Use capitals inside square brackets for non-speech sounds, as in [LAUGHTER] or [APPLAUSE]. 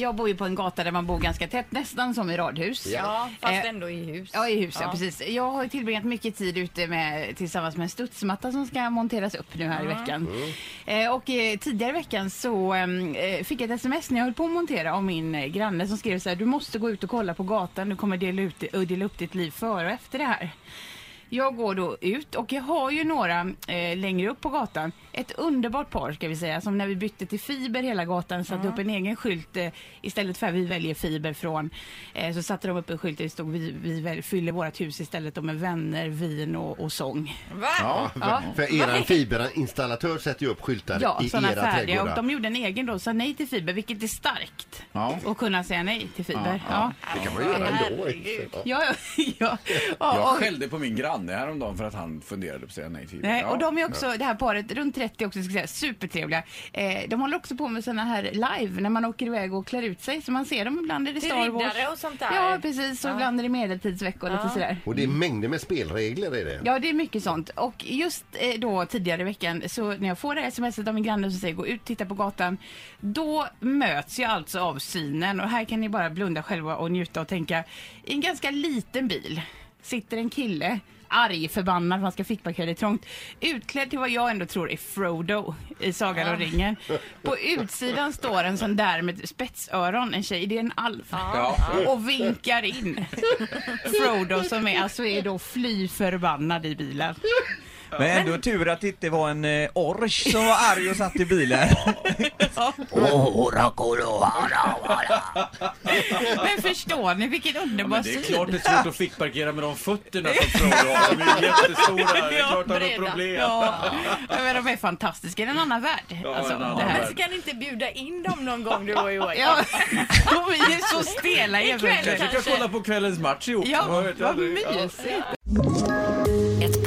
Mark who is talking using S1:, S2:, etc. S1: Jag bor ju på en gata där man bor ganska tätt, nästan som i radhus.
S2: Ja, fast
S1: Eh,
S2: ändå i hus.
S1: Ja, i huset. Ja. Precis. Jag har ju tillbringat mycket tid ute med, tillsammans med en studsmatta som ska monteras upp nu här i veckan. Eh, och eh, tidigare i veckan så eh, fick jag ett sms när jag höll på att montera av min eh, granne som skrev så här, du måste gå ut och kolla på gatan, du kommer dela, ut, ö, dela upp ditt liv före och efter det här. Jag går då ut och jag har ju några eh, längre upp på gatan. Ett underbart par ska vi säga som när vi bytte till fiber hela gatan satte upp en egen skylt eh, istället för att vi väljer fiber från. Eh, så satte de upp en skylt där det stod vi, vi väl, fyller vårt hus istället då med vänner, vin och, och sång.
S2: Va?
S3: Ja,
S1: Ja.
S3: [LAUGHS] för, för eran fiberinstallatör sätter ju upp skyltar
S1: Ja,
S3: i
S1: sådana
S3: era
S1: färdiga. Och
S3: trädgårdar.
S1: de gjorde en egen då och sa nej till fiber vilket är starkt.
S4: Ja.
S1: Att kunna säga nej till fiber. Ja,
S3: Det kan man göra ändå.
S2: Herregud.
S3: Ja.
S1: ja, ja. ja.
S4: Jag
S1: och-
S4: skällde på min granne häromdagen för att han funderade på att säga nej till
S1: Nej, och de är också, det här paret, runt 30 också, ska jag säga, supertrevliga. Eh, de håller också på med såna här live, när man åker iväg och klär ut sig. Så man ser dem ibland är det
S2: Till
S1: Star Wars.
S2: riddare och sånt där.
S1: Ja, precis. Och ibland är det medeltidsveckor och lite sådär.
S3: Och det är mängder med spelregler i det.
S1: Ja, det är mycket sånt. Och just eh, då tidigare i veckan, så när jag får det här smset av min granne som säger gå ut, titta på gatan, då möts jag alltså av synen. Och här kan ni bara blunda själva och njuta och tänka, i en ganska liten bil sitter en kille arg, förbannad, för han ska fickparkera, det är trångt. Utklädd till vad jag ändå tror är Frodo i Sagan om ringen. På utsidan står en sån där med spetsöron, en tjej, det är en alv.
S4: Ja.
S1: Och vinkar in Frodo som är, alltså är då fly förbannad i bilen.
S5: Men ändå tur att det inte var en eh, orch som var arg och satt i bilen.
S1: Men förstår ni vilken
S4: Ja,
S1: underbar
S4: men det
S1: syn?
S4: är klart det är svårt att fickparkera med de fötterna som Frodo har.
S1: [LAUGHS]
S4: De är ju jättestora. Det är klart han har
S2: breda.
S4: problem.
S1: Ja, men de är fantastiska. Det är en annan värld.
S4: Ja,
S1: Alltså,
S4: en annan
S1: det här.
S4: värld.
S2: Ska ni inte bjuda in dem någon gång du och Joakim?
S1: Ja, [LAUGHS] de är ju så stela i
S2: Ikväll
S4: Kanske kan
S2: Kanske.
S4: kolla på kvällens match ihop. Man
S1: Ja,
S4: vet
S1: vad
S4: aldrig. Ja.
S1: mysigt.
S6: Ett